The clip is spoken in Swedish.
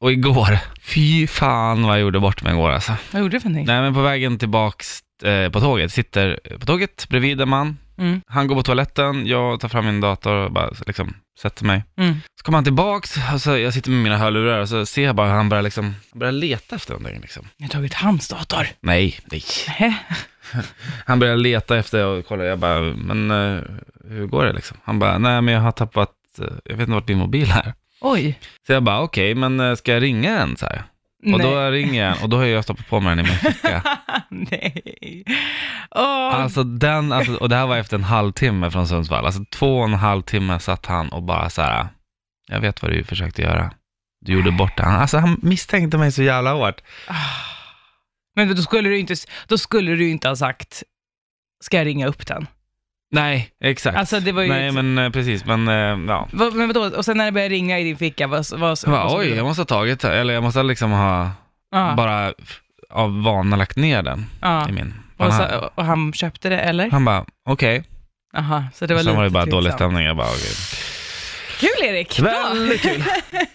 Och igår, fy fan vad jag gjorde bort mig igår alltså. Vad gjorde du för någonting? Nej men på vägen tillbaks eh, på tåget, sitter på tåget bredvid en man. Mm. Han går på toaletten, jag tar fram min dator och bara liksom sätter mig. Mm. Så kommer han tillbaks, och så jag sitter med mina hörlurar och så ser jag bara hur han börjar liksom, börjar leta efter någonting liksom. Jag har tagit hans dator. Nej, nej. Nähä. Han börjar leta efter och kolla, jag bara, men eh, hur går det liksom? Han bara, nej men jag har tappat, eh, jag vet inte vart min mobil är. Oj. Så jag bara, okej, men eh, ska jag ringa den så här? Nej. Och då ringer jag och då har jag stoppat på mig den i min ficka. Nej. Åh. Alltså den, alltså, och det här var efter en halvtimme från Sundsvall. Alltså två och en halv timme satt han och bara så här, jag vet vad du försökte göra. Du gjorde bort det. Han- Alltså han misstänkte mig så jävla hårt. Ah. Men då skulle, du inte, då skulle du inte ha sagt, ska jag ringa upp den? Nej, exakt. Alltså, det var ju Nej, ett- men eh, precis, men eh, ja. Vad, men vadå, och sen när det började ringa i din ficka, vad, vad, Jag bara, vad oj, jag måste ha tagit det, eller jag måste liksom ha ja, bara Mm. f- av vana lagt ner den ja. i min. Och, han, så, och han köpte det, eller? han bara, okej. Aha, så det var Sen lite var det bara dålig tveksamt. stämning. Jag bara, okej. Kul Erik! Bra. Väldigt kul.